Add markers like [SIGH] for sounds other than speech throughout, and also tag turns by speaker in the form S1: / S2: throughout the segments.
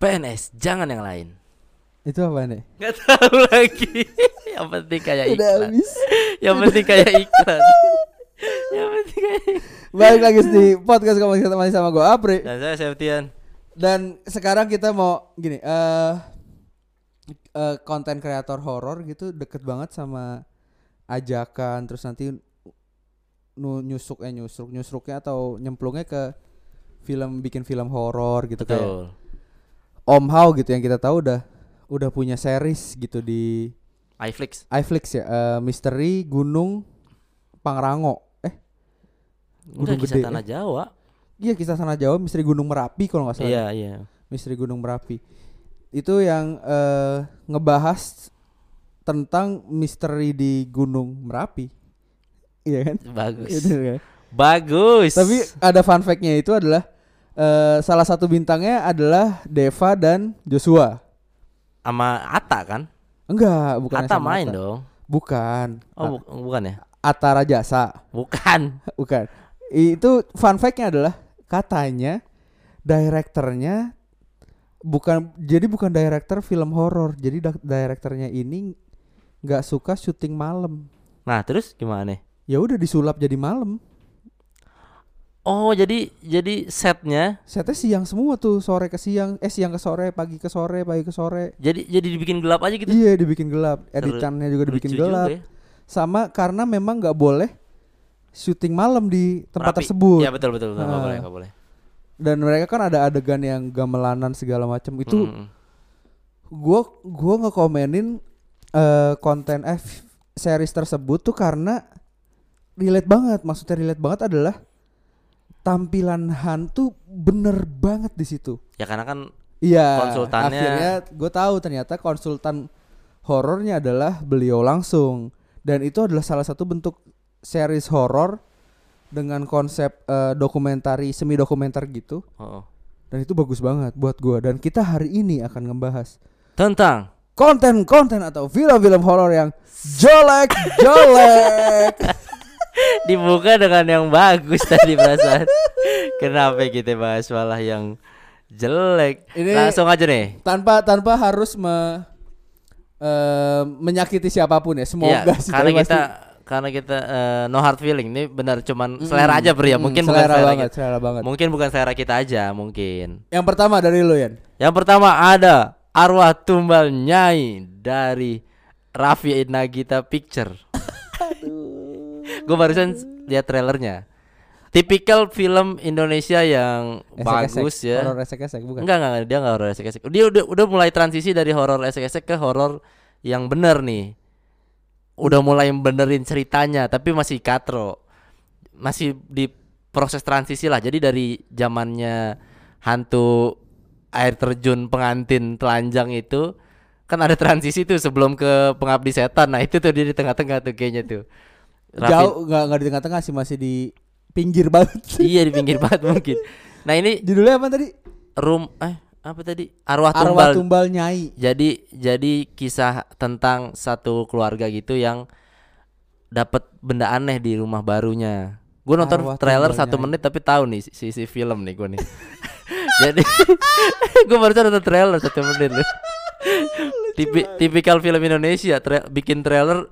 S1: PNS jangan yang lain
S2: Itu apa nih?
S1: nggak tahu lagi [LAUGHS] yang penting kayak iklan
S2: habis.
S1: yang penting [LAUGHS] kayak [LAUGHS] iklan yang penting kayak
S2: Balik lagi di podcast Kompas Kata Manis sama gue Apri.
S1: dan saya Septian
S2: Dan sekarang kita mau gini, eh eh, konten kreator horor gitu deket banget sama ajakan terus nanti nu nyusuk eh nyusruk nyusruknya atau nyemplungnya ke film bikin film horor gitu kayak
S1: betul
S2: Om How gitu yang kita tahu udah udah punya series gitu di
S1: iFlix
S2: iFlix ya eh, misteri Gunung Pangrango eh
S1: udah
S2: Gunung
S1: kisah
S2: Gede,
S1: tanah Jawa
S2: iya kisah tanah Jawa misteri Gunung Merapi kalau nggak salah
S1: iya iya
S2: misteri Gunung Merapi itu yang eh, ngebahas tentang misteri di Gunung Merapi iya kan Itu
S1: bagus
S2: kan?
S1: bagus
S2: tapi ada fun fact-nya itu adalah eh, salah satu bintangnya adalah Deva dan Joshua
S1: sama Ata kan
S2: enggak bukan
S1: Ata main dong
S2: bukan
S1: oh bu- bukan ya
S2: Atara Jasa
S1: bukan
S2: Bukan. Itu fun fact-nya adalah katanya direkturnya bukan jadi bukan director film horor. Jadi dak- direkturnya ini nggak suka syuting malam.
S1: nah terus gimana nih
S2: Ya udah disulap jadi malam.
S1: oh jadi jadi setnya
S2: Setnya siang semua tuh, sore ke siang, eh siang ke sore, pagi ke sore, pagi ke sore.
S1: jadi jadi dibikin gelap aja gitu
S2: Iya, dibikin gelap.
S1: Seru-
S2: Editannya juga dibikin
S1: Lucu juga
S2: gelap.
S1: ya.
S2: Sama karena memang nggak boleh syuting malam di tempat
S1: Merapi.
S2: tersebut.
S1: Iya betul betul betul nggak
S2: Ah.
S1: boleh nggak boleh
S2: Dan mereka kan ada adegan yang gamelanan segala macam. Itu
S1: Mm.
S2: gua gua ngekomenin eh konten eh f- series tersebut tuh karena relate banget maksudnya relate banget adalah tampilan hantu bener banget di situ
S1: ya karena kan
S2: iya
S1: Konsultannya-
S2: akhirnya gue tahu ternyata konsultan horornya adalah beliau langsung dan itu adalah salah satu bentuk series horor dengan konsep eh, dokumentari semi dokumenter gitu
S1: oh, oh.
S2: dan itu bagus banget buat gua dan kita hari ini akan ngebahas
S1: tentang
S2: konten-konten atau film-film horor yang jelek jelek
S1: dibuka dengan yang bagus tadi perasaan kenapa kita bahas malah yang jelek
S2: Ini-
S1: langsung aja nih
S2: [LAUGHS] tanpa tanpa harus me, eh, menyakiti siapapun ya
S1: Iya,
S2: semoga sih
S1: karena
S2: tapi pasti-
S1: kita karena kita eh, no hard feeling ini benar cuman selera aja pria
S2: Mm,
S1: mungkin bukan
S2: selera
S1: selera
S2: banget
S1: kita.
S2: selera banget
S1: mungkin bukan selera kita aja mungkin
S2: yang pertama dari lu Yan
S1: yang pertama ada arwah tumbal nyai dari Raffi Nagita Picture gue barusan lihat trailernya tipikal film Indonesia yang
S2: Esek-esek,
S1: bagus ya
S2: horor esek-esek bukan
S1: Enggak, enggak, enggak, dia enggak horor esek-esek. Dia udah udah mulai transisi dari horor esek-esek ke horor yang bener nih. Udah mulai benerin ceritanya, tapi masih katro. Masih di proses transisi lah. Jadi dari zamannya hantu air terjun pengantin telanjang itu kan ada transisi tuh sebelum ke pengabdi setan. Nah, itu tuh dia di tengah-tengah tuh kayaknya tuh. Raffi-
S2: jauh nggak nggak di tengah-tengah sih masih di pinggir banget [LAUGHS]
S1: Iya, di pinggir banget mungkin. Nah, ini
S2: judulnya apa tadi
S1: room eh apa tadi? Arwah
S2: arwah
S1: tumbal
S2: tumbal nyai
S1: jadi jadi kisah tentang satu keluarga gitu yang dapat benda aneh di rumah barunya. Gue nonton
S2: Arwah
S1: trailer
S2: tumbalnya
S1: satu
S2: ini.
S1: menit tapi tahu nih sisi film nih gue nih. [LAUGHS] jadi [LAUGHS] gue baru nonton trailer satu
S2: [LAUGHS]
S1: menit loh. Tipi- tipikal film Indonesia tra- bikin trailer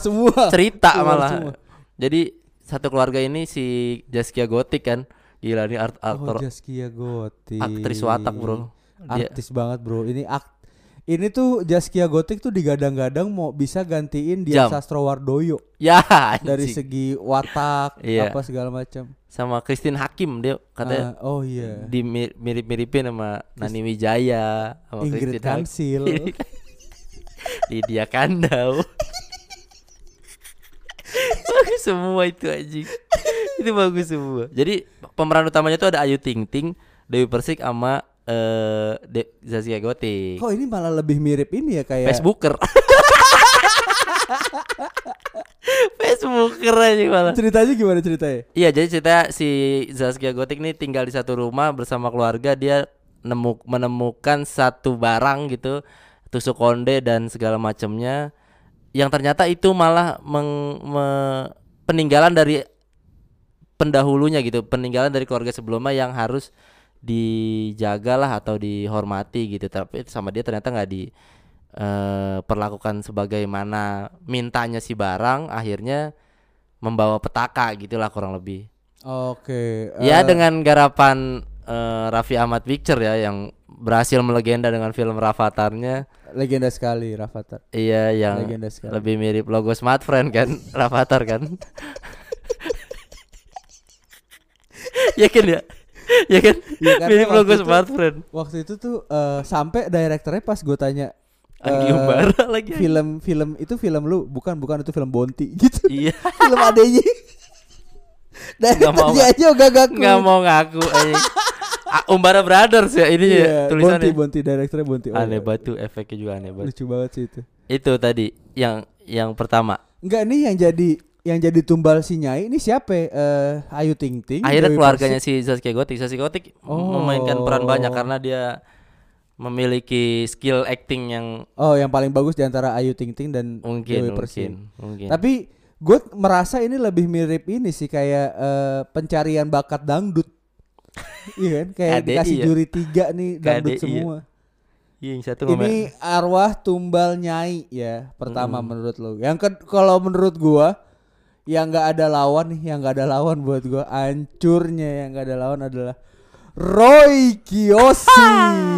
S1: cerita
S2: semua
S1: cerita
S2: Keluar
S1: malah.
S2: semua.
S1: Jadi satu keluarga ini si Zaskia Gotik kan. Gila nih art-
S2: oh,
S1: aktor
S2: Zaskia Gotik
S1: aktris watak, Bro. Dia-
S2: artis banget bro ini ak ini tuh Zaskia Gotik tuh digadang-gadang mau bisa gantiin dia
S1: Jam.
S2: Sastrowardoyo
S1: ya
S2: dari
S1: anjing.
S2: segi watak
S1: Iya.
S2: apa segala macam
S1: sama Christine Hakim dia katanya
S2: Ah, oh iya
S1: di mirip-miripin sama Nani Wijaya sama
S2: Ingrid
S1: Christine Hakim,
S2: Kansil
S1: [LAUGHS] Lydia Kandau [LAUGHS] bagus semua itu anjing itu bagus semua jadi pemeran utamanya tuh ada Ayu Ting Ting Dewi Persik sama eh De- Zaskia Gotik
S2: kok ini malah lebih mirip ini ya kayak
S1: Facebooker [LAUGHS] Facebooker aja malah
S2: ceritanya gimana ceritanya
S1: Iya jadi cerita si Zaskia Gotik ini tinggal di satu rumah bersama keluarga dia nemu menemukan satu barang gitu tusuk konde dan segala macamnya yang ternyata itu malah meng- me- peninggalan dari pendahulunya gitu peninggalan dari keluarga sebelumnya yang harus dijagalah atau dihormati gitu tapi sama dia ternyata nggak di eh, perlakukan sebagaimana mintanya si barang akhirnya membawa petaka gitulah kurang lebih
S2: Oke.
S1: ya
S2: eh,
S1: dengan garapan eh, Raffi Ahmad Picture ya yang berhasil melegenda dengan film Rafatarnya
S2: legenda sekali Rafathar.
S1: iya yang
S2: Legenda sekali.
S1: lebih mirip logo smartphone kan [LAUGHS] Rafathar kan [LAUGHS] yakin ya yakin
S2: Iya, karena
S1: mirip
S2: waktu
S1: logo
S2: itu-
S1: smartphone
S2: Waktu itu tuh eh, sampai direkturnya pas gue tanya
S1: Anggi
S2: eh,
S1: Umbara lagi
S2: film film itu film lu bukan bukan itu film Bonti gitu.
S1: iya
S2: film adanya.
S1: Nggak mau,
S2: Direkturnya aja gak ngaku.
S1: nggak mau ngaku anjing. Ah, Umbara Brothers ya ini ya
S2: Iya, Bonti
S1: tulisannya
S2: Bonti direkturnya Bonti. Oh,
S1: aneh
S2: iya.
S1: banget tuh efeknya juga aneh banget
S2: Lucu banget sih itu.
S1: itu tadi yang yang pertama
S2: Enggak nih yang jadi yang jadi tumbal si Nyai ini siapa? ya? Eh Ayu Ting Ting.
S1: akhirnya
S2: Dewi
S1: keluarganya
S2: Persik.
S1: si Zaskia Gotik Zaskia Gotik
S2: Oh.
S1: memainkan peran banyak karena dia memiliki skill acting yang
S2: Oh, yang paling bagus di antara Ayu Ting Ting dan
S1: mungkin
S2: Dewi Persik.
S1: mungkin mungkin
S2: Tapi gue merasa ini lebih mirip ini sih kayak eh, pencarian bakat dangdut. iya kan? Kayak
S1: KDI
S2: dikasih
S1: ya?
S2: juri tiga nih dangdut
S1: KDI ya.
S2: semua.
S1: Iya, yang satu
S2: Ini
S1: ngomel-
S2: arwah tumbal nyai ya pertama menurut lo. Yang ke kalau menurut gua yang nggak ada lawan nih, yang nggak ada lawan buat gua ancurnya yang nggak ada lawan adalah Roy Kiyoshi,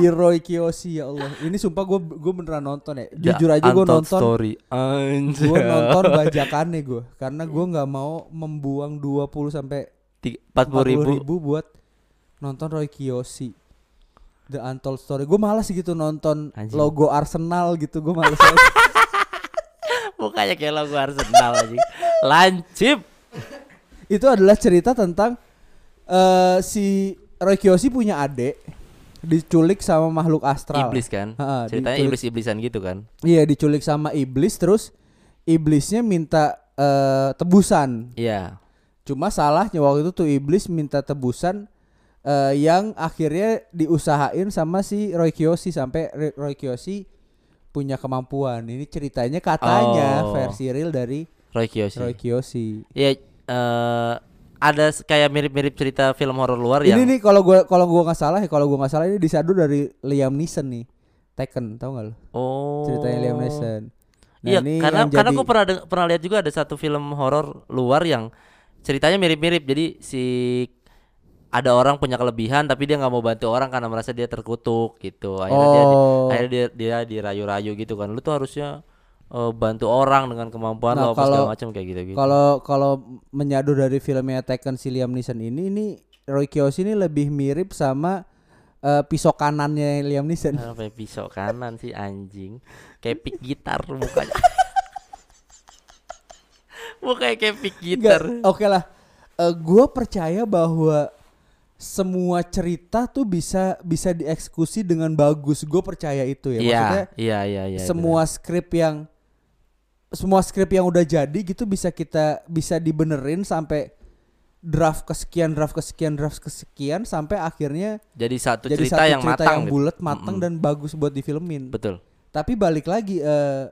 S2: Roy Kiyoshi ya Allah. Ini sumpah gua gua beneran nonton ya.
S1: Ja-
S2: Jujur aja gua
S1: Untold
S2: nonton
S1: story anjir
S2: gue nonton bajakannya gue karena gue nggak mau membuang 20 sampai
S1: empat
S2: 40 ribu.
S1: ribu
S2: buat nonton Roy Kiyoshi The Untold Story gue malas gitu nonton
S1: Anjing.
S2: logo Arsenal gitu gue malas banget.
S1: [LAUGHS] mukanya kayak logo Arsenal aja lancip
S2: itu adalah cerita tentang eh si Roy Kiyoshi punya adik diculik sama makhluk astral
S1: iblis kan
S2: Ha-ha,
S1: ceritanya
S2: diculik-
S1: iblis-iblisan gitu kan
S2: iya diculik sama iblis terus iblisnya minta eh, tebusan
S1: iya
S2: Cuma salahnya waktu itu tuh iblis minta tebusan eh, yang akhirnya diusahain sama si Roy Kiyoshi sampai Re- Roy Kiyoshi punya kemampuan. Ini ceritanya katanya
S1: Oh.
S2: versi real dari
S1: Roy Kiyoshi
S2: Roy Kiyoshi.
S1: ya eh, ada s- kayak mirip-mirip cerita film horor luar Oh, yang
S2: Ini nih kalau gua kalau gua nggak salah ya kalau gua nggak salah ini disadur dari Liam Neeson nih. Tekken, tau gak lo?
S1: oh
S2: Ceritanya Liam Neeson. Nah,
S1: Iya,
S2: ini
S1: karena
S2: yang
S1: karena
S2: jadi-
S1: aku pernah deng- pernah lihat juga ada satu film horor luar yang ceritanya mirip-mirip. Jadi si ada orang punya kelebihan tapi dia nggak mau bantu orang karena merasa dia terkutuk gitu. Akhirnya dia di-
S2: Oh.
S1: akhirnya dia, dia dirayu-rayu gitu kan. Lu tuh harusnya eh, bantu orang dengan kemampuan
S2: Nah,
S1: lo apa segala
S2: kalau-
S1: macam kayak gitu gitu.
S2: Kalau kalau menyadur dari filmnya Tekken si Liam Neeson ini ini Roy Kiyoshi ini lebih mirip sama eh, pisau kanannya Liam
S1: [LAUGHS]
S2: Neeson.
S1: Sampai pisau kanan sih anjing. Kayak pick gitar mukanya. [LAUGHS] mukanya kayak pick gitar.
S2: Enggak, Oke lah. gue percaya bahwa semua cerita tuh bisa bisa dieksekusi dengan bagus. Gue percaya itu ya. Maksudnya
S1: Iya, iya, iya, iya.
S2: semua skrip yang semua skrip yang udah jadi gitu bisa kita bisa dibenerin sampai draft kesekian draft kesekian draft kesekian sampai akhirnya
S1: bener. jadi satu
S2: jadi
S1: cerita
S2: satu
S1: yang
S2: cerita
S1: matang
S2: yang
S1: gitu.
S2: bulat matang
S1: Mm-mm.
S2: dan bagus buat difilmin.
S1: Betul.
S2: Tapi balik lagi eh,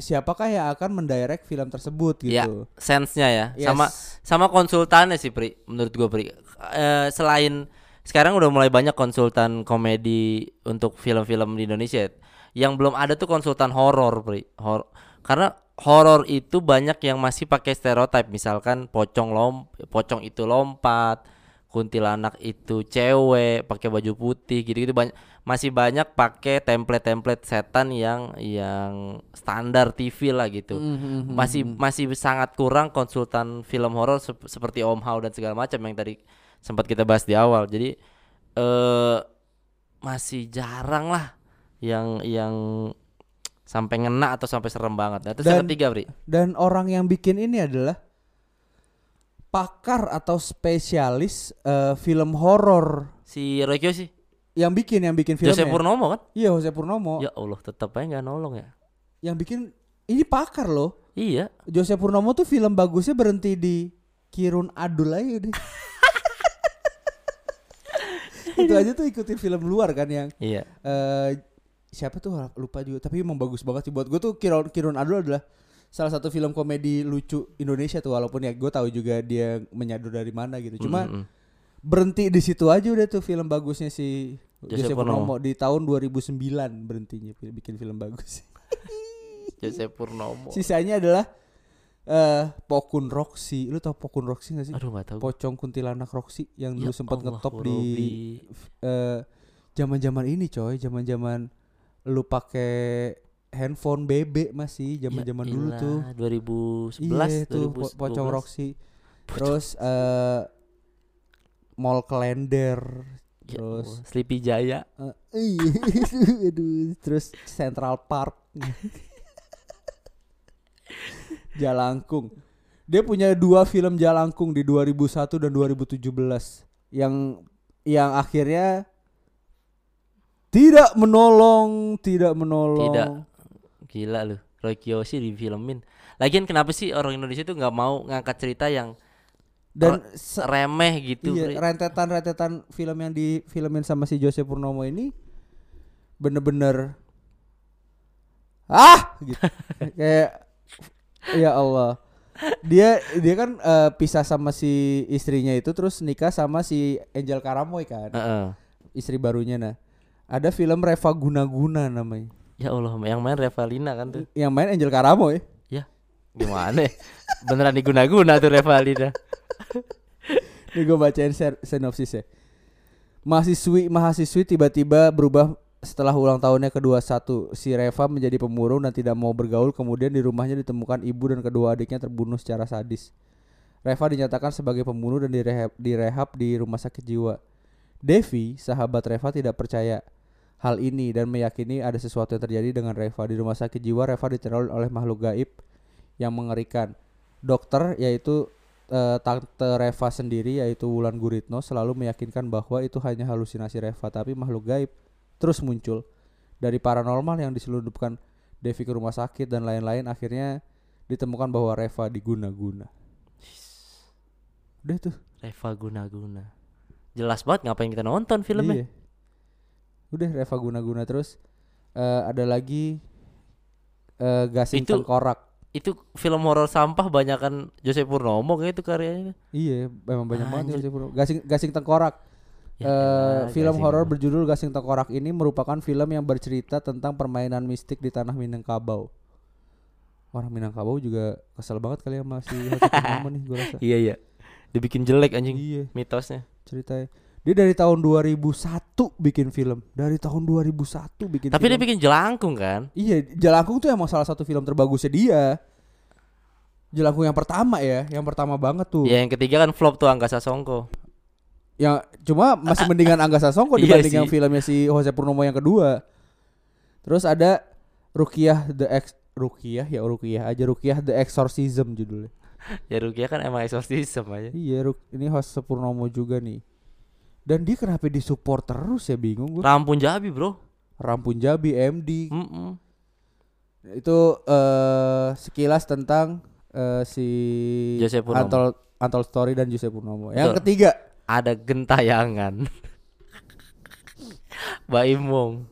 S2: siapakah yang akan mendirect film tersebut
S1: Ya,
S2: gitu.
S1: sense-nya ya.
S2: Yes.
S1: Sama sama konsultannya sih, Pri. Menurut gua, Pri. Eh, selain sekarang udah mulai banyak konsultan komedi untuk film-film di Indonesia. Yang belum ada tuh konsultan horor, Pri. Hor- karena horor itu banyak yang masih pakai stereotip, misalkan pocong lom pocong itu lompat, kuntilanak itu cewek, pakai baju putih gitu-gitu banyak masih banyak pakai template-template setan yang yang standar TV lah gitu masih masih sangat kurang konsultan film horor sep- seperti Om Hao dan segala macam yang tadi sempat kita bahas di awal. Jadi eh masih jarang lah yang yang sampai ngena atau sampai serem banget. Nah, terus yang
S2: Dan-
S1: ketiga, Bri.
S2: Dan orang yang bikin ini adalah pakar atau spesialis eh, film horor
S1: Si Roy sih.
S2: yang bikin yang bikin filmnya.
S1: Joseph Purnomo kan?
S2: Iya, Jose Purnomo.
S1: Ya Allah, tetap aja nggak nolong ya.
S2: Yang bikin ini pakar loh.
S1: Iya.
S2: Jose Purnomo tuh film bagusnya berhenti di Kirun Adul aja
S1: [LAUGHS]
S2: deh. Itu aja tuh ikutin film luar kan yang
S1: Iya.
S2: eh siapa tuh lupa juga tapi emang bagus banget sih buat gue tuh Kirun Kirun Adul adalah salah satu
S1: Hmm.
S2: film komedi lucu Indonesia tuh walaupun ya gue tahu juga dia menyadur dari mana gitu cuma
S1: Mm-mm.
S2: berhenti di situ aja udah tuh film bagusnya si
S1: Joseph
S2: Joseph
S1: Purnomo.
S2: Purnomo di tahun 2009 berhentinya fil- bikin film
S1: [LAUGHS]
S2: bagus.
S1: Jose Purnomo.
S2: Sisanya adalah eh Pokun Roxy. Lu tau Pokun Roxy gak sih?
S1: Aduh nggak tahu.
S2: Pocong kuntilanak Roxy yang
S1: Ya
S2: dulu sempat
S1: Allah,
S2: ngetop
S1: Robi.
S2: di eh, zaman-zaman ini coy, zaman-zaman lu pakai handphone BB masih zaman-zaman
S1: Ya
S2: dulu
S1: elah,
S2: tuh.
S1: 2011
S2: Iya tuh po-
S1: 2012.
S2: Pocong Roxy.
S1: Pocong
S2: Terus eh Mall Calendar.
S1: Ya
S2: Terus
S1: Allah, Sleepy Jaya.
S2: eh, iya, [LAUGHS] aduh, terus Central Park. [LAUGHS] Jalangkung. Dia punya dua film Jalangkung di 2001 dan 2017 yang yang akhirnya tidak menolong, tidak menolong.
S1: Tidak. Gila lu. Roy Kiyoshi difilmin. Lagian kenapa sih orang Indonesia tuh nggak mau ngangkat cerita yang
S2: Dan se-
S1: remeh gitu?
S2: Iya,
S1: Bre?
S2: rentetan-rentetan film yang difilmin sama si Jose Purnomo ini bener-bener ah gitu. [LAUGHS] Kayak ya Allah. Dia dia kan eh, pisah sama si istrinya itu terus nikah sama si Angel Karamoy kan,
S1: Heeh.
S2: istri barunya nah. Ada film Reva Guna-Guna namanya.
S1: Ya Allah, yang main Revalina kan tuh.
S2: Yang main Angel Karamoy.
S1: Ya, gimana? [LAUGHS] ya? Beneran diguna-guna tuh Revalina.
S2: Nih gue bacain ser- sinopsisnya. Mahasiswi mahasiswi tiba-tiba berubah setelah ulang tahunnya ke-21. Si Reva menjadi pemurung dan tidak mau bergaul. Kemudian di rumahnya ditemukan ibu dan kedua adiknya terbunuh secara sadis. Reva dinyatakan sebagai pembunuh dan direhab, direhab di rumah sakit jiwa. Devi, sahabat Reva tidak percaya hal ini dan meyakini ada sesuatu yang terjadi dengan Reva di rumah sakit jiwa. Reva diteror oleh makhluk gaib yang mengerikan. Dokter yaitu eh, tante Reva sendiri yaitu Wulan Guritno selalu meyakinkan bahwa itu hanya halusinasi Reva tapi makhluk gaib terus muncul dari paranormal yang diselundupkan Devi ke rumah sakit dan lain-lain akhirnya ditemukan bahwa Reva diguna-guna. Udah tuh.
S1: Reva guna-guna. Jelas banget ngapain kita nonton filmnya.
S2: Iya. Udah Reva guna-guna terus eh, ada lagi eh gasing
S1: Itu-
S2: tengkorak.
S1: Itu film horor sampah banyakan Jose Purnomo kayak itu karyanya.
S2: Iya, memang banyak banget
S1: Anjir.
S2: yang disebut. gasing gasing tengkorak.
S1: Ya
S2: Eh,
S1: elah,
S2: film
S1: Gasing
S2: horor
S1: Tengkorak.
S2: berjudul Gasing Tengkorak ini merupakan film yang bercerita tentang permainan mistik di tanah Minangkabau. Orang Minangkabau juga kesel banget kali ya masih
S1: [LAUGHS]
S2: nih gue rasa.
S1: Iya iya. Dibikin jelek anjing
S2: Iya,
S1: mitosnya.
S2: ceritanya. Dia dari tahun 2001 bikin film. Dari tahun 2001 bikin
S1: Tapi dia
S2: film.
S1: bikin jelangkung kan?
S2: Iya, Jalangkung tuh emang salah satu film terbagusnya dia. Jalangkung yang pertama ya, yang pertama banget tuh.
S1: Ya yang ketiga kan flop tuh Angga Sasongko.
S2: Ya cuma masih mendingan Angga Sasongko
S1: [LAUGHS] Iya
S2: dibanding
S1: sih.
S2: yang filmnya si Jose Purnomo yang kedua. Terus ada Rukiah the Ex Rukiah ya Rukiah aja Rukiah the Exorcism judulnya.
S1: Ya Rukia kan emang eksorsisme aja.
S2: Iya, Ruk ini Jose Purnomo juga nih. Dan dia kenapa disupport terus ya bingung gue.
S1: Rampun Jabi, Bro.
S2: Rampun Jabi MD.
S1: Mm-mm.
S2: Itu eh sekilas tentang eh, si
S1: Jose Purnomo.
S2: Antol Antol Story dan Jose Purnomo. Yang
S1: Betul.
S2: ketiga
S1: Ada gentayangan. [LAUGHS] Baimong.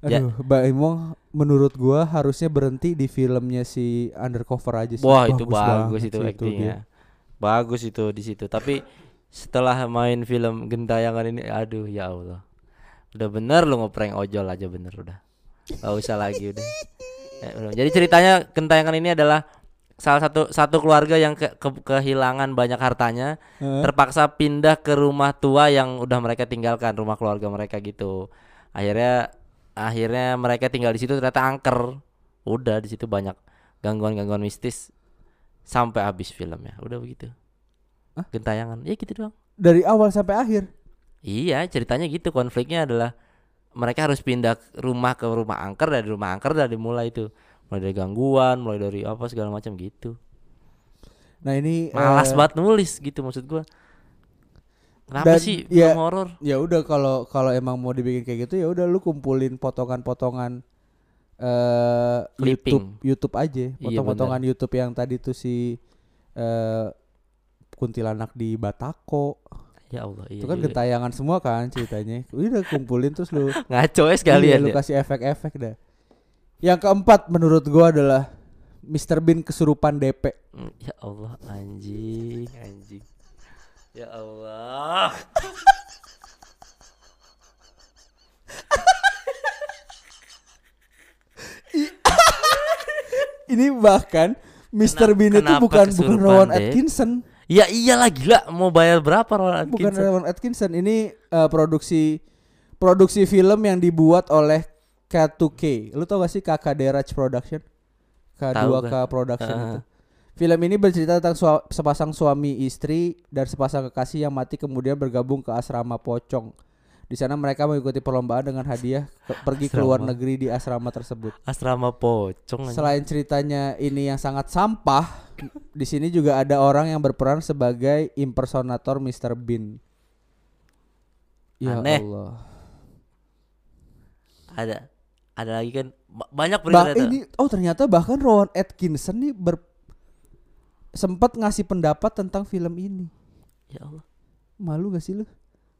S1: Ya.
S2: Aduh, Mbak Imong menurut gua harusnya berhenti di filmnya si Undercover aja sih.
S1: Wah itu bagus
S2: banget
S1: itu
S2: sih
S1: actingnya,
S2: dia.
S1: bagus itu di situ. Tapi setelah main film Gentayangan ini, aduh ya Allah, udah bener lu ngeprank ojol aja bener udah, gak usah lagi udah. Eh, belum. Jadi ceritanya Gentayangan ini adalah salah satu satu keluarga yang ke- ke- kehilangan banyak hartanya,
S2: Heeh.
S1: terpaksa pindah ke rumah tua yang udah mereka tinggalkan, rumah keluarga mereka gitu. Akhirnya akhirnya mereka tinggal di situ ternyata angker. Udah di situ banyak gangguan-gangguan mistis sampai habis filmnya. Udah begitu.
S2: Hah?
S1: Gentayangan. Ya gitu doang.
S2: Dari awal sampai akhir.
S1: Iya, ceritanya gitu. Konfliknya adalah mereka harus pindah ke rumah ke rumah angker dari rumah angker dari mulai itu. Mulai dari gangguan, mulai dari apa segala macam gitu.
S2: Nah, ini
S1: Malas
S2: eh,
S1: banget nulis gitu maksud gua. Kenapa
S2: Dan-
S1: sih
S2: ya.
S1: film horor?
S2: Ya udah kalau kalau emang mau dibikin kayak gitu ya udah lu kumpulin potongan-potongan eh
S1: Clipping.
S2: YouTube YouTube
S1: Iya,
S2: aja, potong-potongan YouTube yang tadi tuh si eh kuntilanak di Batako.
S1: Ya Allah, iya.
S2: itu kan
S1: juga.
S2: gentayangan semua kan ceritanya. Udah kumpulin terus lu
S1: Ngaco ya
S2: Iya,
S1: sekalian
S2: lu
S1: ya.
S2: kasih efek-efek dah. Yang keempat menurut gua adalah Mr. Bean kesurupan DP.
S1: Hmm,
S2: [LAUGHS]
S1: Mm, Ya Allah, anjing, anjing. Ya Allah.
S2: Ini bahkan Mr.
S1: Kena-
S2: Bean itu
S1: kenapa
S2: bukan bukan
S1: kesurupan,
S2: Rowan
S1: Dek?
S2: Atkinson,
S1: Ya iyalah gila mau bayar berapa gitu? Rowan
S2: bukan
S1: Atkinson?
S2: Rowan Atkinson. Ini eh, produksi produksi film yang dibuat oleh K2K. Lu tau gak sih kakak Deraj Production? K2K
S1: kan.
S2: Production
S1: Ah.
S2: itu. Film ini bercerita tentang sua- sepasang suami istri dan sepasang kekasih yang mati kemudian bergabung ke asrama pocong. Di sana mereka mengikuti perlombaan dengan hadiah ke- pergi ke luar
S1: Asrama.
S2: negeri di asrama tersebut.
S1: Asrama pocong. anjing.
S2: Selain ceritanya ini yang sangat sampah, di sini juga ada orang yang berperan sebagai impersonator Mr. Bean. Ya
S1: Aneh.
S2: Allah.
S1: Ada ada lagi kan Ba- banyak bener
S2: Bah, ini oh ternyata bahkan Rowan Atkinson nih ber sempat ngasih pendapat tentang film ini.
S1: Ya Allah,
S2: Malu gak sih lu?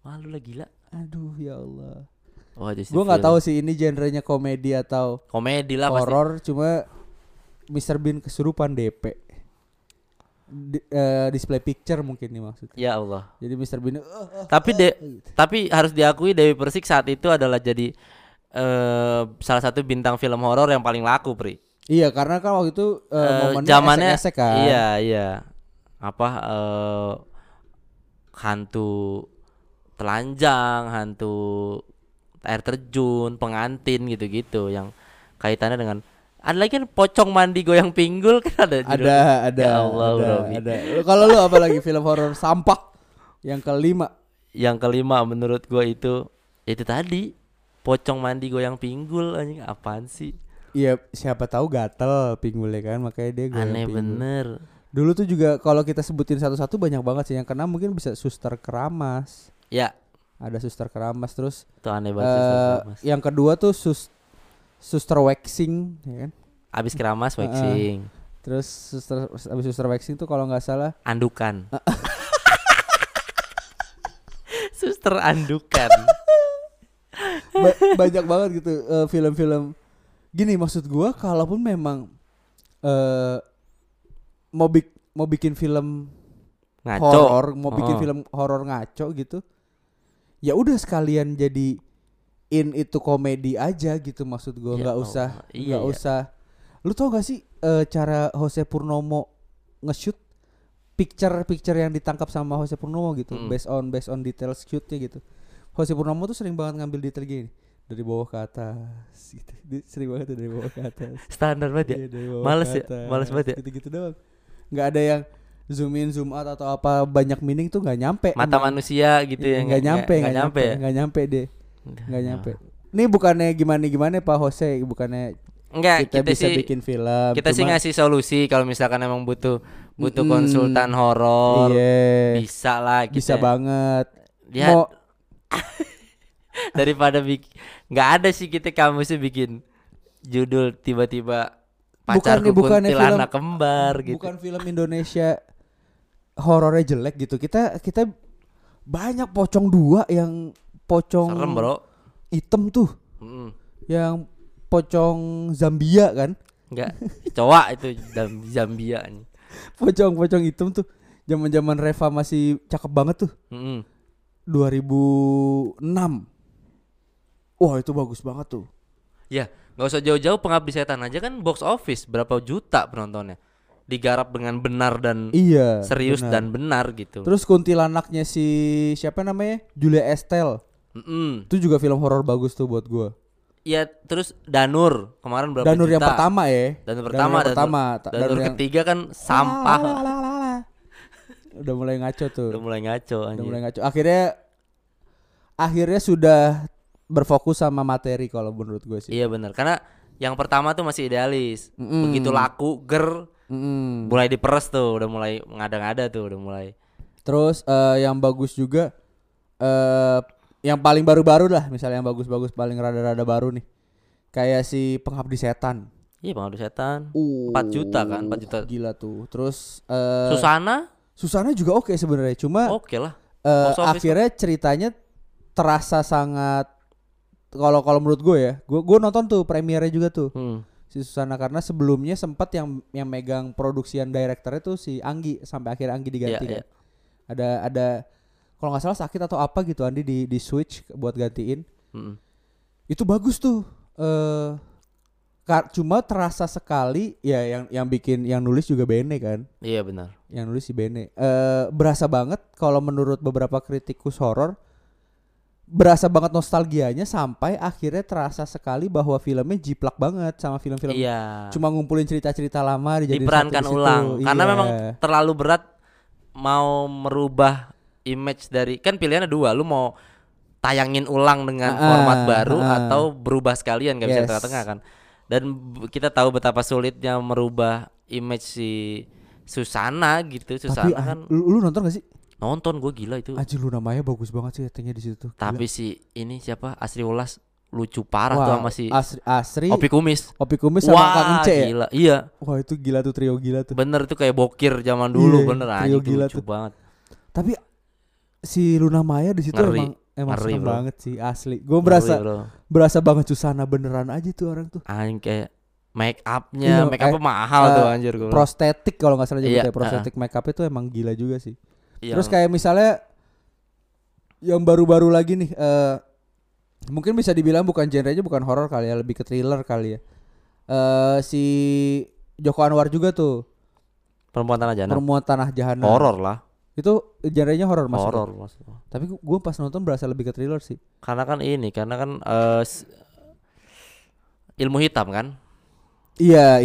S1: malu lah gila.
S2: Aduh ya Allah.
S1: Wah, jadi
S2: Gue nggak
S1: film.
S2: tahu sih ini genrenya komedi atau
S1: Komedi lah pasti.
S2: horor, cuma Mr. Bean kesurupan DP. Di- eh, display picture mungkin nih maksudnya.
S1: Ya Allah.
S2: Jadi Mr. Bean "Eh,
S1: Tapi de tapi harus diakui Dewi Persik saat itu adalah jadi eh salah satu bintang film horor yang paling laku, Pri.
S2: Iya karena kan waktu itu eh,
S1: Eh,
S2: momennya
S1: zamannya
S2: esek-esek kan.
S1: Iya, iya. Apa eh hantu telanjang, hantu air terjun, pengantin gitu-gitu yang kaitannya dengan ada lagi kan pocong mandi goyang pinggul kan ada judul.
S2: Ada ada
S1: Ya Allah,
S2: ada,
S1: Robi.
S2: ada. Lu- Kalau lu apa lagi film horor sampah yang kelima
S1: yang kelima menurut gua itu itu tadi pocong mandi goyang pinggul anjing apaan sih
S2: Iya siapa tahu gatel pinggulnya kan makanya dia goyang
S1: aneh
S2: pinggul.
S1: bener
S2: Dulu tuh juga kalau kita sebutin satu-satu banyak banget sih yang kena mungkin bisa suster keramas.
S1: ya
S2: Ada suster keramas terus
S1: tuh aneh banget sih,
S2: eh
S1: Mas.
S2: yang kedua tuh sus suster waxing ya kan.
S1: abis keramas
S2: eh.
S1: waxing
S2: Terus suster abis suster waxing tuh kalau nggak salah [LAUGHS]
S1: andukan suster andukan
S2: Ba- banyak banget gitu eh, film-film gini maksud gua kalaupun memang eh mau bik- mau bikin film
S1: ngaco
S2: horor mau bikin
S1: Oh.
S2: film horor ngaco gitu ya udah sekalian jadi in itu komedi aja gitu maksud gua
S1: Ya
S2: nggak
S1: Allah,
S2: usah
S1: iya,
S2: nggak
S1: iya.
S2: usah lu tau gak sih eh, cara Jose Purnomo nge-shoot picture-picture yang ditangkap sama Jose Purnomo gitu
S1: Mm.
S2: based on based on details shootnya gitu Jose Purnomo tuh sering banget ngambil detail gini dari bawah ke atas [LAUGHS] gitu. Dia sering banget tuh dari bawah ke atas
S1: standar banget ya
S2: Iya, dari bawah
S1: Males
S2: ke
S1: ya, males banget ya.
S2: Gitu-gitu doang. Nggak ada yang zoom in, zoom out atau apa banyak meaning tuh nggak nyampe.
S1: mata
S2: emang.
S1: manusia gitu
S2: Iya,
S1: ya
S2: nggak nyampe,
S1: nggak nyampe ya?
S2: nggak nyampe deh, nggak nyampe. Ini bukannya gimana gimana Pak Jose, bukannya
S1: Enggak,
S2: kita,
S1: Ya, kita,
S2: bisa
S1: sih
S2: bikin film.
S1: kita sih
S2: cuma-
S1: ngasih solusi kalau misalkan emang butuh butuh
S2: Mm-mm.
S1: konsultan horor
S2: Iya,
S1: bisa gitu lah ya. kita.
S2: bisa banget.
S1: Ya,
S2: Mau
S1: [LAUGHS] daripada bik- nggak ada sih kita kamu sih bikin judul tiba-tiba pacarku
S2: Bukannya- bukannya
S1: kuntilanak
S2: film-
S1: kembar gitu.
S2: bukan film Indonesia horornya jelek gitu. Kita kita banyak pocong dua yang pocong
S1: Serem, Bro.
S2: hitam tuh,
S1: Mm.
S2: yang pocong Zambia kan. [LAUGHS]
S1: Enggak, cowok itu Zam- Zambia nih.
S2: pocong-pocong hitam tuh zaman-zaman Reva masih cakep banget tuh
S1: Mm-mm.
S2: 2006 wah itu bagus banget tuh
S1: Ya, nggak usah jauh-jauh pengabdi setan aja kan box office berapa juta penontonnya. Digarap dengan benar dan
S2: iya
S1: serius
S2: benar.
S1: dan benar gitu.
S2: terus kuntilanaknya si siapa namanya Julia Estelle
S1: Mm-mm.
S2: itu juga film horor bagus tuh buat gua
S1: Ya, terus Danur kemarin berapa
S2: Danur
S1: juta?
S2: yang pertama ya
S1: Danur pertama,
S2: yang
S1: Danur-
S2: pertama Ta-
S1: Danur,
S2: yang- Ah,
S1: ketiga kan sampah.
S2: Lalalala. udah mulai ngaco tuh
S1: Udah mulai ngaco
S2: Gitu. udah
S1: anjir.
S2: mulai ngaco akhirnya akhirnya sudah berfokus sama materi kalau menurut gue sih
S1: Iya benar. Karena yang pertama tuh masih idealis.
S2: Mm-mm. Mm.
S1: Begitu laku, ger,
S2: Mm-mm.
S1: mulai diperes tuh, udah mulai ngada-ngada tuh, udah mulai.
S2: Terus eh, yang bagus juga eh yang paling baru-baru lah, misalnya yang bagus-bagus paling rada-rada baru nih. Kayak si Pengabdi Setan.
S1: Iya, Bang Aduh Setan.
S2: Uh,
S1: 4 juta kan, 4 juta.
S2: Gila tuh. Terus eh
S1: Susana?
S2: Susana juga oke sebenarnya, cuma
S1: Oke lah.
S2: eh,
S1: box office
S2: akhirnya ceritanya terasa sangat kalau kalau menurut gue ya, gue gue nonton tuh premiernya juga tuh
S1: Hmm.
S2: si Susana karena sebelumnya sempat yang yang megang produksian direkturnya tuh si Anggi sampai akhir Anggi diganti
S1: Iya,
S2: kan. ada ada kalau nggak salah sakit atau apa gitu Andi di di switch buat gantiin
S1: Mm-mm.
S2: itu bagus tuh eh kar- cuma terasa sekali ya yang yang bikin yang nulis juga Bene kan
S1: Iya benar.
S2: yang nulis si Bene eh berasa banget kalau menurut beberapa kritikus horor berasa banget nostalgianya sampai akhirnya terasa sekali bahwa filmnya jiplak banget sama film-film
S1: Iya.
S2: cuma ngumpulin cerita-cerita lama dijadiin
S1: Diperankan
S2: satu di situ.
S1: ulang karena
S2: Iya.
S1: memang terlalu berat mau merubah image dari kan pilihannya dua, lu mau tayangin ulang dengan
S2: Ah,
S1: format baru
S2: ah.
S1: atau berubah sekalian gak bisa
S2: Yes.
S1: tengah-tengah kan. Dan b- kita tahu betapa sulitnya merubah image si Susana gitu.
S2: tapi
S1: Susana
S2: ah,
S1: kan
S2: lu, lu nonton gak sih
S1: nonton gue gila itu.
S2: Anjir Luna Maya bagus banget sih actingnya di situ. Gila.
S1: Tapi si ini siapa Asri Ulas lucu parah
S2: Wah,
S1: tuh sama si
S2: Asri, Asri
S1: Opi
S2: Opi,
S1: Kumis.
S2: Kumis sama Kang
S1: Wah,
S2: Ence ya?
S1: gila. Iya,
S2: Wah itu gila tuh trio gila tuh.
S1: bener tuh kayak bokir zaman dulu
S2: Iya,
S1: bener aja
S2: trio
S1: itu
S2: gila
S1: lucu
S2: tuh.
S1: banget.
S2: Tapi si Luna Maya di situ
S1: Ngeri.
S2: emang emang
S1: Ngeri,
S2: serem
S1: bro.
S2: banget sih asli. Gue berasa
S1: Ngeri, bro.
S2: berasa banget Susana beneran aja tuh orang tuh.
S1: Anjing kayak make upnya,
S2: Iya,
S1: make upnya mahal
S2: eh,
S1: tuh anjir gue.
S2: Prostetik kalau nggak salah
S1: Iya,
S2: nyebutnya prostetik makeup itu emang gila juga sih.
S1: Iya,
S2: Terus kan kayak misalnya yang baru-baru lagi nih eh mungkin bisa dibilang bukan genrenya bukan horor kali ya, lebih ke thriller kali ya. Eh si Joko Anwar juga tuh,
S1: perempuan tanah jana.
S2: Perempuan Tanah Jahanam.
S1: Horor lah,
S2: Itu genrenya horor mas.
S1: horor maksudnya.
S2: Tapi gue pas nonton berasa lebih ke thriller sih.
S1: Karena kan ini, karena kan eh, s- ilmu hitam kan?
S2: Iya,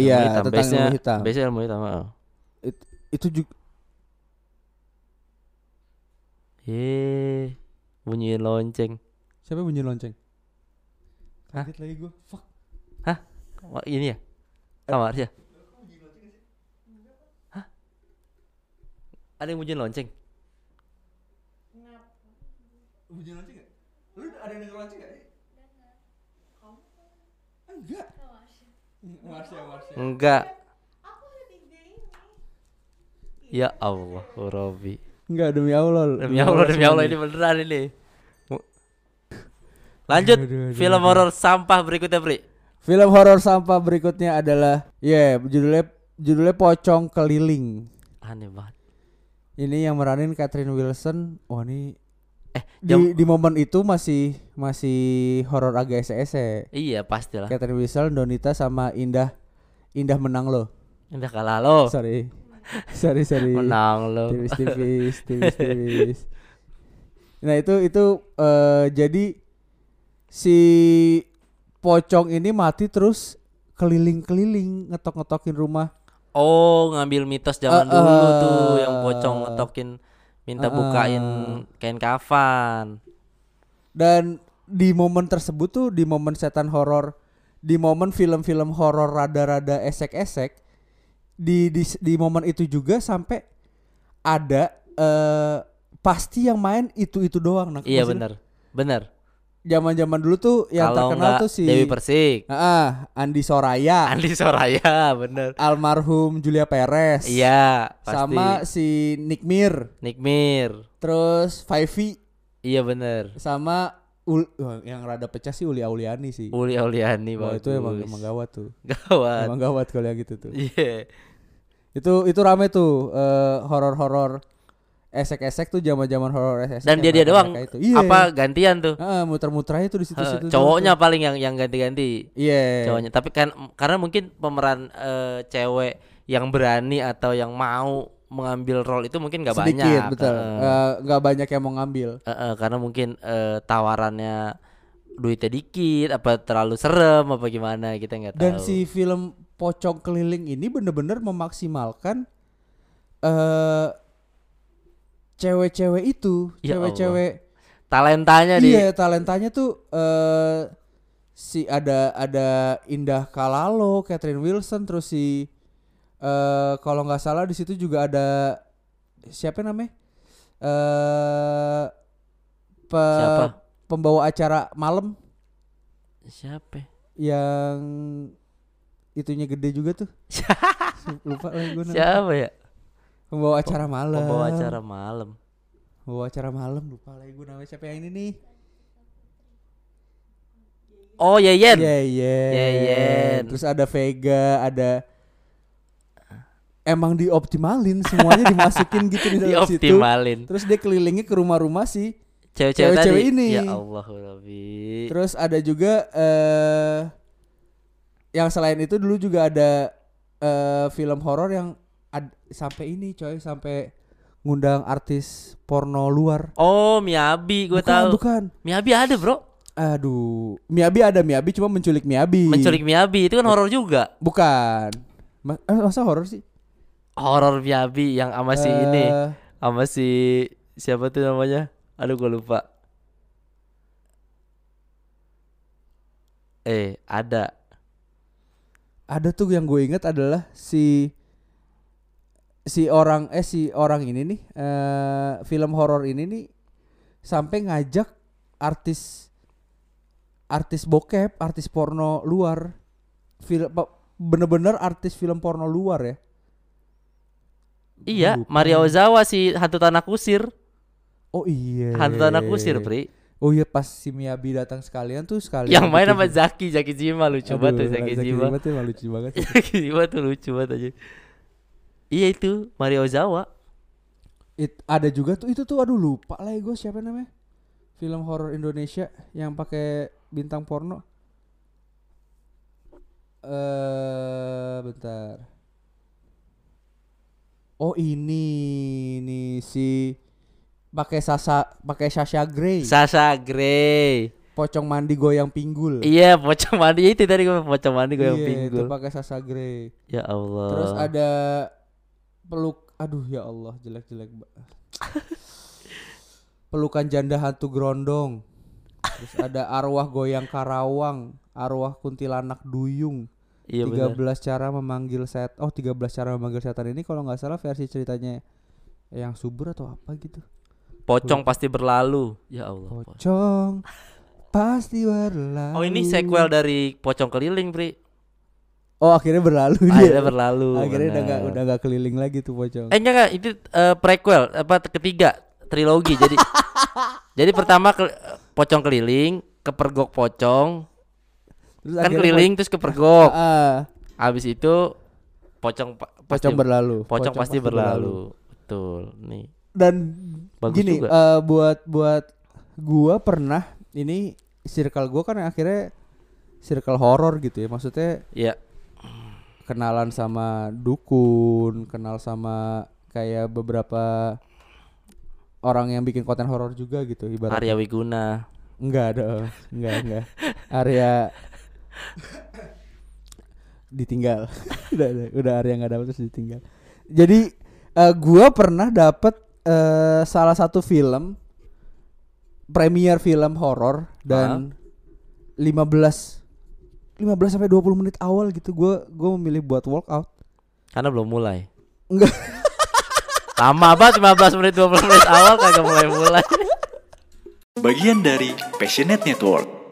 S1: Ilmu
S2: iya,
S1: hitam.
S2: tentang
S1: base-nya-
S2: ilmu hitam.
S1: base-nya ilmu hitam. heeh.
S2: It- itu juga
S1: Yeay, bunyiin lonceng.
S2: siapa yang bunyi lonceng?
S1: Hah?
S2: Kaget lagi gue. Fuck.
S1: Wah, ini ya? Kamar ya? Hah? Ada yang bunyiin lonceng?
S2: Bunyi lonceng gak? Lu ada yang denger lonceng gak? Enggak. Marsha, Marsha.
S1: Enggak. Ya Allah, Bu Robi.
S2: Enggak demi Allah.
S1: Demi Allah, demi Allah ini beneran ini. Mu- Lanjut
S2: Aduh, aduh,
S1: film horor sampah berikutnya, Pri.
S2: Film horor sampah berikutnya adalah ya judulnya judulnya Pocong Keliling.
S1: Aneh banget.
S2: Ini yang meranin Catherine Wilson. Wah, ini
S1: Eh, jam
S2: di, di momen itu masih masih horor agak ese-ese.
S1: Iya, pastilah.
S2: Catherine Wilson, Donita sama Indah Indah menang lo.
S1: Indah kalah lo.
S2: Sorry. Sorry, sorry.
S1: Oh. Menang lo. [LAUGHS]
S2: Tipis tipis, tipis tipis. Nah, itu itu eh, jadi si pocong ini mati terus keliling-keliling ngetok-ngetokin rumah.
S1: Oh, ngambil mitos zaman
S2: Eh,
S1: dulu tuh
S2: eh.
S1: yang pocong ngetokin minta
S2: Eh,
S1: bukain
S2: eh.
S1: kain kafan.
S2: Dan di momen tersebut tuh di momen setan horor, di momen film-film horor rada-rada esek-esek di, di di momen itu juga sampai ada eh pasti yang main itu-itu doang nah,
S1: Iya,
S2: maksudnya
S1: bener bener
S2: Zaman-zaman dulu tuh yang
S1: Kalau
S2: terkenal
S1: nggak
S2: tuh si
S1: Dewi Persik, [LAUGHS]
S2: Ah, Andi Soraya,
S1: Andi Soraya, bener.
S2: almarhum Julia Perez,
S1: Iya, pasti.
S2: sama si Nick Mir,
S1: Nick Mir.
S2: terus Faifi,
S1: Iya bener
S2: sama Ul- Wah, yang rada pecah sih Uli Auliani sih.
S1: Uli Auliani
S2: Wah,
S1: bagus.
S2: itu emang emang gawat tuh.
S1: gawat.
S2: Emang gawat kalau yang gitu
S1: [LAUGHS]
S2: tuh.
S1: Iya.
S2: Itu itu rame tuh eh, horor-horor esek-esek tuh zaman-zaman horor esek.
S1: Dan dia dia doang
S2: Iya.
S1: apa gantian tuh?
S2: muter-muternya tuh di
S1: Heeh,
S2: situ-situ. doang
S1: cowoknya
S2: tuh.
S1: paling yang yang ganti-ganti.
S2: Iya.
S1: Cowoknya. Tapi kan karena mungkin pemeran eh, cewek yang berani atau yang mau mengambil role itu mungkin nggak banyak.
S2: Sedikit, betul.
S1: Heeh.
S2: Eh, nggak banyak yang mau ngambil.
S1: Heeh, karena mungkin eh, tawarannya duitnya dikit apa terlalu serem apa gimana kita nggak tahu.
S2: Dan si film Pocong Keliling ini bener-bener memaksimalkan eh cewek-cewek itu,
S1: Ya Allah.
S2: cewek-cewek
S1: talentanya di
S2: iya talentanya tuh eh si ada ada Indah Kalalo, Catherine Wilson, terus si eh kalau nggak salah di situ juga ada siapa namanya? Eh pe-
S1: siapa?
S2: pembawa acara malam
S1: Siapa? ya?
S2: yang itunya gede juga
S1: [LAUGHS]
S2: tuh. Lupa lagi gue nama.
S1: Siapa ya?
S2: Pembawa acara malam.
S1: Pembawa acara malam.
S2: Pembawa acara malam lupa lagi gue namanya siapa yang ini nih.
S1: Oh
S2: Iya,
S1: Yeyen. iya.
S2: Yeyen.
S1: Yeyen.
S2: Terus ada Vega, ada emang dioptimalin semuanya dimasukin gitu di dalam situ.
S1: dioptimalin
S2: Terus dia kelilingnya ke rumah-rumah sih.
S1: cewek-cewek
S2: Cewek-cewek
S1: tadi
S2: ini.
S1: ya Allah Rabbi
S2: Terus ada juga eh yang selain itu dulu juga ada eh film horor yang ad- sampai ini coy sampai ngundang artis porno luar.
S1: oh Miabi gue
S2: bukan,
S1: tahu
S2: bukan. Iya.
S1: Miabi ada bro
S2: Aduh, Miabi ada Miabi cuma menculik Miabi.
S1: menculik Miabi
S2: Iya.
S1: itu kan horor juga
S2: Bukan. Ma- eh, masa horor sih?
S1: horor Miabi yang sama si ini
S2: Eh,
S1: sama si siapa tuh namanya aduh gue lupa eh ada
S2: ada tuh yang gue inget adalah si si orang eh si orang ini nih eh film horor ini nih sampai ngajak artis artis bokep, artis porno luar. Film bener-bener artis film porno luar ya.
S1: iya
S2: Lupa.
S1: Maria Ozawa si hantu tanah kusir
S2: Oh iya.
S1: hantu tanah kusir pri
S2: Oh iya pas si Miyabi datang sekalian tuh sekalian.
S1: yang main
S2: gitu
S1: sama
S2: juga.
S1: Zaki Zaki Jima lucu
S2: Aduh,
S1: banget tuh Zaki Jima
S2: tuh emang lucu banget. sih.
S1: [LAUGHS] Zaki Jima tuh lucu banget aja iya itu Maria Ozawa
S2: It- ada juga tuh itu tuh aduh lupa lah gue siapa namanya film horor Indonesia yang pakai bintang porno eh bentar oh ini nih si pakai sasa pakai Sasha Grey
S1: Sasha Grey
S2: pocong mandi goyang pinggul
S1: iya pocong mandi itu tadi gue pocong mandi gue yang
S2: Iya, itu
S1: pinggul
S2: pakai Sasha Grey
S1: ya Allah
S2: terus ada peluk aduh ya Allah jelek-jelek
S1: [LAUGHS]
S2: ba- pelukan janda hantu grondong terus ada arwah goyang karawang arwah kuntilanak duyung
S1: iya
S2: 13
S1: benar
S2: cara memanggil set oh 13 cara memanggil setan ini kalau nggak salah versi ceritanya yang subur atau apa gitu
S1: pocong pasti berlalu ya Allah
S2: pocong pasti berlalu
S1: Oh ini sequel dari Pocong Keliling, Pri.
S2: oh akhirnya berlalu dia
S1: Akhirnya berlalu.
S2: Iya. akhirnya udah nggak
S1: benar.
S2: udah nggak keliling lagi tuh pocong
S1: Eh enggak enggak, itu eh, prequel apa ketiga trilogi. jadi
S2: [LAUGHS]
S1: jadi pertama ke, Pocong Keliling, kepergok pocong,
S2: terus
S1: kan
S2: akhirnya po-
S1: keliling terus
S2: [LAUGHS]
S1: kepergok.
S2: Ah,
S1: Habis itu pocong pa- pasti
S2: pocong berlalu
S1: pocong, pasti, berlalu. Betul. Nih.
S2: dan
S1: Bagus
S2: gini
S1: juga.
S2: eh, buat buat gua pernah ini circle gua kan akhirnya circle horor gitu ya maksudnya
S1: Ya,
S2: kenalan sama dukun kenal sama kayak beberapa orang yang bikin konten horor juga gitu ibaratnya
S1: Arya Wiguna.
S2: enggak ada enggak enggak area ditinggal [LAUGHS] udah udah, udah area nggak dapet terus ditinggal jadi eh, gua pernah dapet eh, salah satu film premier film horor dan 15 15 sampai 20 menit awal gitu gua gua memilih buat workout
S1: Karena belum mulai.
S2: Enggak.
S1: Lama banget 15 menit 20 menit awal kagak mulai-mulai.
S3: Bagian dari Passionate Network.